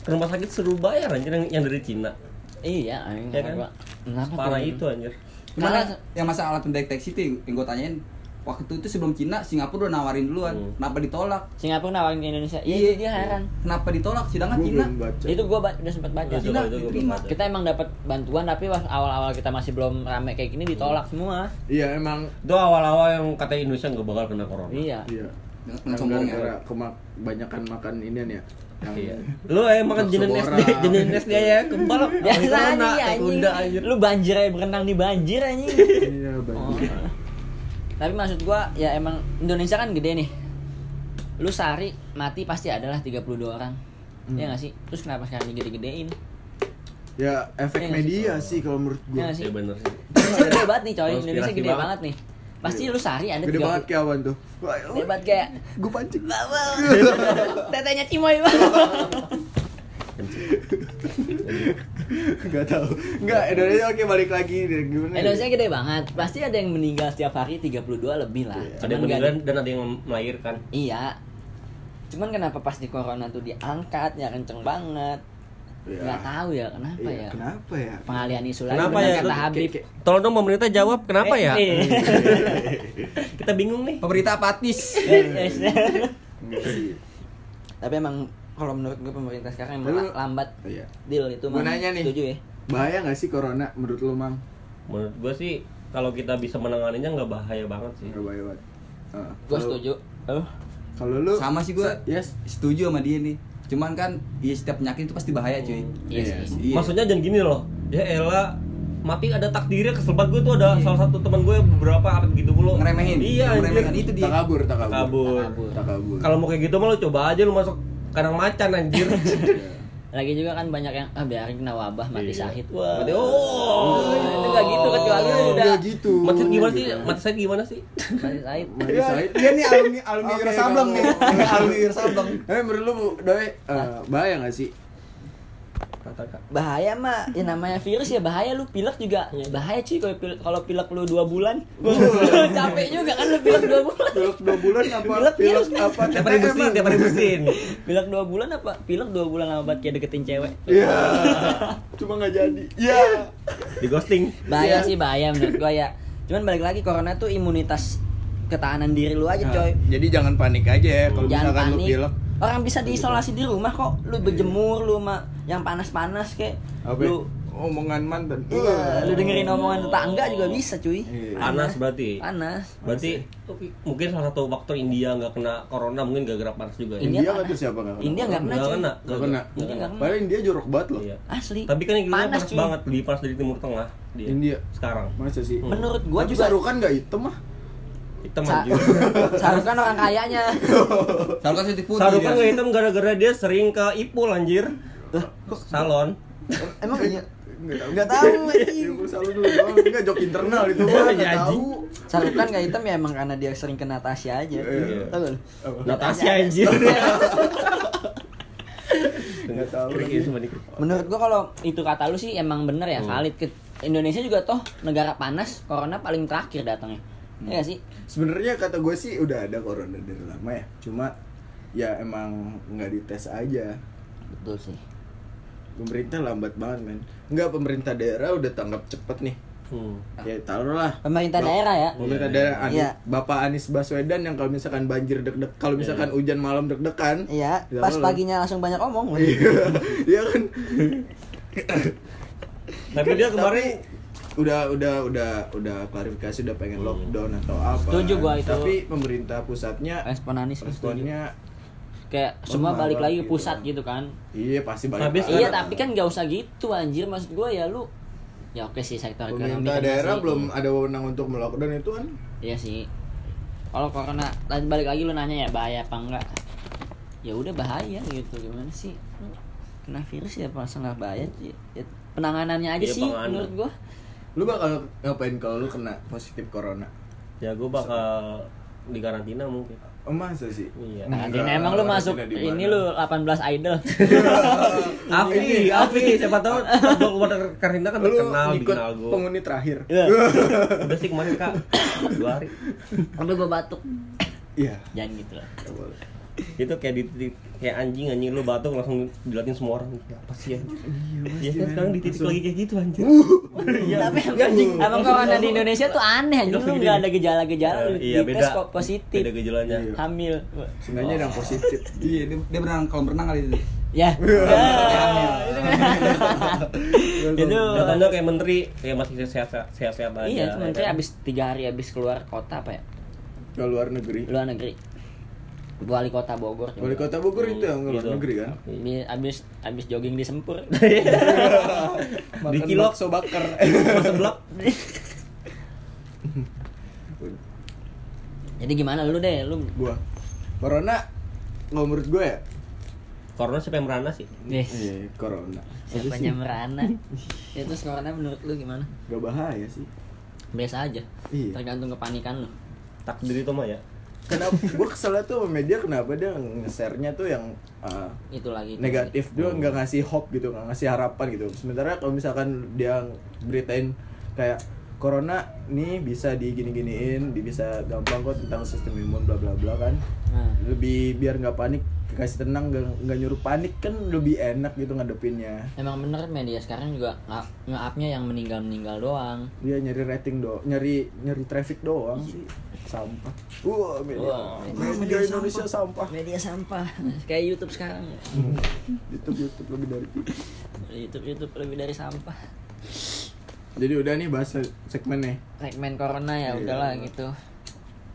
Speaker 2: ke rumah sakit seru bayar anjir yang, yang dari Cina.
Speaker 1: Iya, anjing.
Speaker 2: Ya kan?
Speaker 1: kenapa? Kenapa
Speaker 2: Parah
Speaker 1: tuh?
Speaker 2: itu anjir.
Speaker 4: Cuman
Speaker 1: Karena-
Speaker 4: yang- yang masalah alat pendeteksi itu yang gue tanyain waktu itu sebelum Cina Singapura udah nawarin duluan,
Speaker 2: Hmm.
Speaker 4: kenapa ditolak?
Speaker 1: Singapura nawarin ke Indonesia. Iya, itu dia heran.
Speaker 4: Kenapa ditolak? Sedangkan
Speaker 3: Gua
Speaker 4: Cina
Speaker 3: belum baca.
Speaker 1: Itu gua ba- udah sempat baca.
Speaker 2: Itu
Speaker 4: Cina
Speaker 2: gua- itu gua
Speaker 4: diterima.
Speaker 2: baca.
Speaker 1: Kita emang dapat bantuan tapi pas awal-awal kita masih belum rame kayak gini ditolak semua.
Speaker 3: Iya emang
Speaker 2: Itu awal-awal yang katanya Indonesia nggak bakal kena corona.
Speaker 1: Iya.
Speaker 3: iya.
Speaker 4: Yang sombong ya.
Speaker 3: gara-gara kemak banyakan makan inian ya. Yang
Speaker 2: Iya. Lu eh makan
Speaker 3: Bakso
Speaker 2: jenis
Speaker 3: borak.
Speaker 2: SD, jenis SD ya kembal.
Speaker 1: Biasa nih
Speaker 2: Kuda
Speaker 1: anjing.
Speaker 2: anjir. Iya,
Speaker 1: Lu banjir aja berenang di banjir anjing.
Speaker 3: Iya,
Speaker 1: Oh.
Speaker 3: banyak.
Speaker 1: Tapi maksud gua ya emang Indonesia kan gede nih. Lu sehari mati pasti adalah 32 orang. Iya gak sih? Terus kenapa sekarang digede-gedein?
Speaker 3: Ya efek
Speaker 1: Iya nggak sih?
Speaker 3: media sih kalau menurut
Speaker 1: Iya
Speaker 3: gua.
Speaker 1: nggak sih?
Speaker 2: Iya bener sih.
Speaker 1: Indonesia gede banget nih coy,
Speaker 2: Konspirasi
Speaker 1: Indonesia gede
Speaker 2: banget.
Speaker 1: banget nih. Pasti lu sehari ada
Speaker 3: Gede
Speaker 1: 30
Speaker 3: banget kayak awan tuh. Wah,
Speaker 1: Gede banget kayak
Speaker 3: Gua pancing.
Speaker 1: Tetenya cimoy
Speaker 3: Gak tau Gak, Indonesia oke balik lagi deh, gimana Iya,
Speaker 1: Indonesia gede banget. Pasti ada yang meninggal setiap hari 32 lebih lah. Cuman
Speaker 3: Iya.
Speaker 2: Ada yang
Speaker 1: nggak
Speaker 2: meninggal dan ada yang melahirkan.
Speaker 1: di- Iya. Cuman kenapa pas di corona tuh diangkat ya kenceng banget.
Speaker 3: Iya.
Speaker 1: Nggak tahu ya kenapa
Speaker 3: Iya,
Speaker 1: ya.
Speaker 3: Kenapa ya?
Speaker 1: Pengalian isu lagi
Speaker 2: Kenapa
Speaker 1: bener
Speaker 2: ya?
Speaker 1: kata Habib.
Speaker 2: Tolong dong pemerintah jawab kenapa
Speaker 1: Eh,
Speaker 2: ya?
Speaker 1: eh.
Speaker 3: iya,
Speaker 2: Kita bingung nih.
Speaker 4: Pemerintah apatis.
Speaker 1: Eh, eh.
Speaker 3: Enggak sih
Speaker 1: Tapi emang kalau menurut gue pemerintah sekarang emang
Speaker 3: Tapi-
Speaker 1: la- lambat
Speaker 3: Iya
Speaker 1: deal itu
Speaker 3: Gua
Speaker 1: Mang.
Speaker 3: nanya nih.
Speaker 1: Setuju ya?
Speaker 3: Bahaya gak sih corona menurut lo Mang?
Speaker 2: Menurut gua sih kalau kita bisa menanganinya nggak bahaya banget sih.
Speaker 3: Gak bahaya banget Ah,
Speaker 1: Gue
Speaker 3: kalau-
Speaker 1: setuju. Oh.
Speaker 3: Kalau lu
Speaker 4: Sama sih gua.
Speaker 3: Yes
Speaker 4: Setuju sama dia nih. Cuman kan ya setiap penyakit itu pasti bahaya cuy.
Speaker 1: Iya
Speaker 3: Iya
Speaker 1: sih.
Speaker 4: Iya.
Speaker 2: Maksudnya jangan gini loh. Ya elah mati ada takdirnya kesel banget gue tuh ada
Speaker 1: Iya.
Speaker 2: salah satu teman gue beberapa apa gitu mulu
Speaker 4: ngeremehin.
Speaker 2: iya
Speaker 4: meremehkan
Speaker 2: anjir.
Speaker 4: itu dia.
Speaker 3: Takabur, takabur
Speaker 2: kabur
Speaker 1: Takabur.
Speaker 3: Takabur
Speaker 2: kalau mau kayak gitu mah lo coba aja lo masuk kandang macan anjir
Speaker 3: Iya.
Speaker 1: Lagi juga kan banyak yang ah biarin kena wabah mati
Speaker 2: Iya.
Speaker 1: syahid. Wah.
Speaker 2: Mati- oh
Speaker 1: Itu nggak gitu, kecuali
Speaker 2: Oh.
Speaker 1: udah-
Speaker 3: Nggak gitu
Speaker 2: mati syahid gimana sih
Speaker 3: Gitu.
Speaker 2: mati syahid gimana sih
Speaker 1: Mati syahid.
Speaker 3: Mati
Speaker 4: Iya,
Speaker 3: syahid.
Speaker 4: Dia nih alumni alumni
Speaker 3: Oke,
Speaker 4: Wira Sableng nih.
Speaker 3: kalau-
Speaker 4: Alumni Wira Sableng.
Speaker 3: Tapi menurut lu Doi eh, Bahaya gak sih?
Speaker 2: katakan
Speaker 1: bahaya mah ya namanya virus ya bahaya lu pilek juga
Speaker 2: Iya.
Speaker 1: bahaya cuy kalau pil- kalau pilek lu dua bulan capek juga kan lu pilek dua bulan
Speaker 3: Pilek 2 bulan apa?
Speaker 1: Pilek virus.
Speaker 3: apa?
Speaker 2: tiap hari
Speaker 3: TTM,
Speaker 2: bersin
Speaker 3: Mang?
Speaker 2: tiap hari bersin
Speaker 1: pilek dua bulan apa pilek dua bulan sama obat kayak deketin cewek
Speaker 3: Iya Cuma gak jadi Iya
Speaker 2: di ghosting
Speaker 1: bahaya
Speaker 3: Iya.
Speaker 1: sih bahaya menurut gua ya cuman balik lagi corona tuh imunitas ketahanan diri lu aja coy
Speaker 3: Nah, Jadi jangan panik aja ya Kalau
Speaker 1: jangan
Speaker 3: misalkan lu
Speaker 1: panik
Speaker 3: pilek
Speaker 1: orang bisa diisolasi di rumah kok lu berjemur lu mah yang panas-panas kayak
Speaker 3: apa ya?
Speaker 1: lu
Speaker 3: omongan mantan
Speaker 1: Iya, lu dengerin omongan tetangga juga bisa cuy
Speaker 3: Iya.
Speaker 2: panas berarti
Speaker 1: panas
Speaker 2: berarti mungkin salah satu faktor India nggak kena corona mungkin gak gerak panas juga ya
Speaker 3: India
Speaker 1: panas.
Speaker 3: kata siapa nggak kena?
Speaker 1: India nggak kena
Speaker 2: Nggak
Speaker 1: cuy
Speaker 2: kena
Speaker 3: Gak kena
Speaker 1: Nggak kena.
Speaker 3: Padahal dia jorok banget loh
Speaker 2: Iya.
Speaker 1: asli
Speaker 2: tapi kan India panas,
Speaker 1: cuy.
Speaker 2: banget lebih panas dari Timur Tengah dia
Speaker 3: India.
Speaker 2: sekarang
Speaker 3: Masa sih?
Speaker 2: Hmm.
Speaker 1: menurut gua
Speaker 3: Tapi
Speaker 1: juga
Speaker 3: Sarukan gak hitam ah
Speaker 2: hitam
Speaker 1: Sa-
Speaker 2: anjir
Speaker 1: Sarukan orang kayanya
Speaker 4: Sarukan sih putih. ya.
Speaker 2: Sarukan
Speaker 4: kan dia.
Speaker 2: gak hitam gara-gara dia sering ke Ipul anjir salon
Speaker 1: emang iya
Speaker 3: Gak tau Saru Iya, dulu doang Enggak jok internal itu gua
Speaker 2: Iya,
Speaker 3: Gak tau
Speaker 2: anjing.
Speaker 1: Sarukan gak hitam ya emang karena dia sering kena Tasya aja
Speaker 3: Iya.
Speaker 1: Tau gak lu?
Speaker 2: Natasha anjir
Speaker 3: Gak tau
Speaker 2: Krik
Speaker 3: lagi.
Speaker 2: itu sama dikrik.
Speaker 1: menurut gua kalau itu kata lu sih emang bener ya valid Ke- Indonesia juga toh negara panas corona paling terakhir datangnya Iya gak sih
Speaker 3: Hmm. Sebenarnya kata gue sih udah ada corona dari lama ya Cuma ya emang nggak dites aja
Speaker 1: betul sih
Speaker 3: pemerintah lambat banget men nggak pemerintah daerah udah tanggap cepet nih
Speaker 2: Hmm.
Speaker 3: ya taruhlah
Speaker 1: Ah. pemerintah
Speaker 3: Bap-
Speaker 1: daerah ya
Speaker 3: pemerintah
Speaker 2: Iya,
Speaker 3: daerah Ani-
Speaker 1: Iya.
Speaker 3: bapak Anies Baswedan yang kalau misalkan banjir deg-deg kalau misalkan hujan malam deg-degan
Speaker 1: Iya,
Speaker 3: Ya,
Speaker 1: pas
Speaker 3: lu.
Speaker 1: paginya langsung banyak omong.
Speaker 3: Iya, iya kan
Speaker 2: tapi
Speaker 1: Kan
Speaker 2: dia kemarin
Speaker 3: Tapi udah udah udah udah klarifikasi udah pengen lockdown atau apa
Speaker 1: Iya. Setuju gua itu. Eh,
Speaker 3: tapi pemerintah pusatnya
Speaker 1: Respon Anies gitu.
Speaker 3: responnya
Speaker 1: kayak semua
Speaker 3: Lemah
Speaker 1: balik lagi ke
Speaker 3: gitu.
Speaker 1: pusat gitu kan.
Speaker 3: iya pasti balik
Speaker 2: Tapi
Speaker 3: lagi.
Speaker 1: Iya, tapi kan nggak usah gitu anjir maksud gua ya lu. Ya oke sih sektor ekonomi.
Speaker 3: pemerintah
Speaker 1: kena
Speaker 3: daerah
Speaker 1: sih.
Speaker 3: belum ada wewenang untuk melockdown itu kan
Speaker 1: Iya sih. Kalau corona tadi balik lagi lu nanya ya bahaya apa enggak? Ya udah bahaya gitu gimana sih? Kena virus ya masa nggak bahaya? Ya, ya penanganannya aja
Speaker 2: Iya,
Speaker 1: sih
Speaker 2: penanganan.
Speaker 1: menurut gua.
Speaker 3: lu bakal ngapain kalau lu kena positif corona
Speaker 2: ya gue bakal di karantina mungkin
Speaker 3: Oh, masa sih?
Speaker 2: Iya.
Speaker 1: Nah,
Speaker 3: Enggak,
Speaker 1: ini emang lu
Speaker 3: karena
Speaker 1: masuk
Speaker 3: tidak di
Speaker 1: ini
Speaker 3: mana.
Speaker 1: lu 18 idol.
Speaker 2: Afi, Afi, siapa tahu kalau keluar dari karantina kan
Speaker 3: Iya. lu
Speaker 2: terkenal di
Speaker 3: ikut
Speaker 2: kenal gue.
Speaker 3: penghuni terakhir.
Speaker 1: Iya.
Speaker 2: Udah sih kemarin kak dua hari.
Speaker 1: Aduh gua batuk.
Speaker 3: Iya.
Speaker 1: Jangan gitu lah.
Speaker 3: nggak boleh.
Speaker 2: itu kayak dititik kayak anjing anjing lu batuk langsung dilatih semua orang apa sih ya iya kan sekarang dititik lagi kayak gitu anjir Iya.
Speaker 1: Tapi emang corona di Indonesia tuh aneh anjing lu
Speaker 2: Langsung
Speaker 1: nggak
Speaker 2: gini.
Speaker 1: ada gejala-gejala lu
Speaker 2: iya
Speaker 1: dites
Speaker 2: beda
Speaker 1: kok positif.
Speaker 2: beda gejalanya
Speaker 3: Iya.
Speaker 1: Hamil.
Speaker 3: Sebenarnya ada yang positif.
Speaker 4: Iya, dia, dia berenang kalau berenang kali itu.
Speaker 1: Ya.
Speaker 2: Iya.
Speaker 3: Iya.
Speaker 1: Ya.
Speaker 3: kan.
Speaker 1: Itu
Speaker 2: Datanya kayak menteri kayak masih sehat-sehat sehat-sehat aja
Speaker 1: Iya, cuma
Speaker 2: ya
Speaker 1: kayak
Speaker 2: kan?
Speaker 1: abis tiga hari abis keluar kota apa ya?
Speaker 3: Ke luar negeri.
Speaker 1: Luar negeri. Wali kota Bogor. juga.
Speaker 3: Wali kota Bogor itu yang ke luar
Speaker 2: Gitu.
Speaker 3: negeri kan.
Speaker 1: Ini abis abis jogging di Sempur.
Speaker 2: Di
Speaker 3: Makan
Speaker 2: kilok.
Speaker 3: bakso bakar.
Speaker 2: seblak
Speaker 1: Jadi gimana lu deh, lu
Speaker 3: gua. Corona kalau menurut gue ya.
Speaker 2: corona siapa yang merana sih
Speaker 1: deh
Speaker 3: Iya, corona.
Speaker 1: siapanya merana? Ya terus corona menurut lu gimana?
Speaker 3: Gak bahaya sih.
Speaker 1: Biasa aja.
Speaker 3: Iya.
Speaker 1: Tergantung kepanikan lu.
Speaker 2: takdir itu mah ya
Speaker 3: Kenapa gue keselnya tuh sama media kenapa dia nge-share-nya tuh yang uh,
Speaker 1: Itu lagi. itu Hmm.
Speaker 3: negatif dia nggak ngasih hope gitu nggak ngasih harapan gitu sementara kalau misalkan dia beritain kayak corona nih bisa digini-giniin di- bisa gampang kok tentang sistem imun bla bla bla kan
Speaker 1: lagi. Nah.
Speaker 3: lebih biar nggak panik kasih tenang nggak nggak nyuruh panik kan lebih enak gitu ngadepinnya
Speaker 1: Emang bener media sekarang juga nge- nge-upnya yang meninggal-meninggal doang.
Speaker 3: dia nyari rating do nyari nyari traffic doang sih sampah wah media,
Speaker 1: Wah,
Speaker 3: media, Indonesia sampah,
Speaker 1: Media sampah. Kayak YouTube sekarang.
Speaker 3: YouTube YouTube lebih dari TV.
Speaker 1: YouTube YouTube lebih dari sampah.
Speaker 3: jadi udah nih bahas segmen nih
Speaker 1: Segmen corona ya
Speaker 3: Iya.
Speaker 1: udahlah gitu.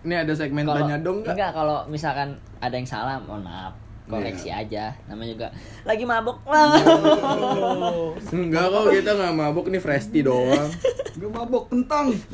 Speaker 3: ini ada segmen
Speaker 1: Kalau-
Speaker 3: tanya dong nggak Iya.
Speaker 1: Enggak, kalau misalkan ada yang salah, mohon maaf. Koreksi aja. Namanya juga lagi mabuk. Wah. Oh.
Speaker 3: Enggak kok kita nggak mabuk nih Fresti doang.
Speaker 4: Gue mabok kentang.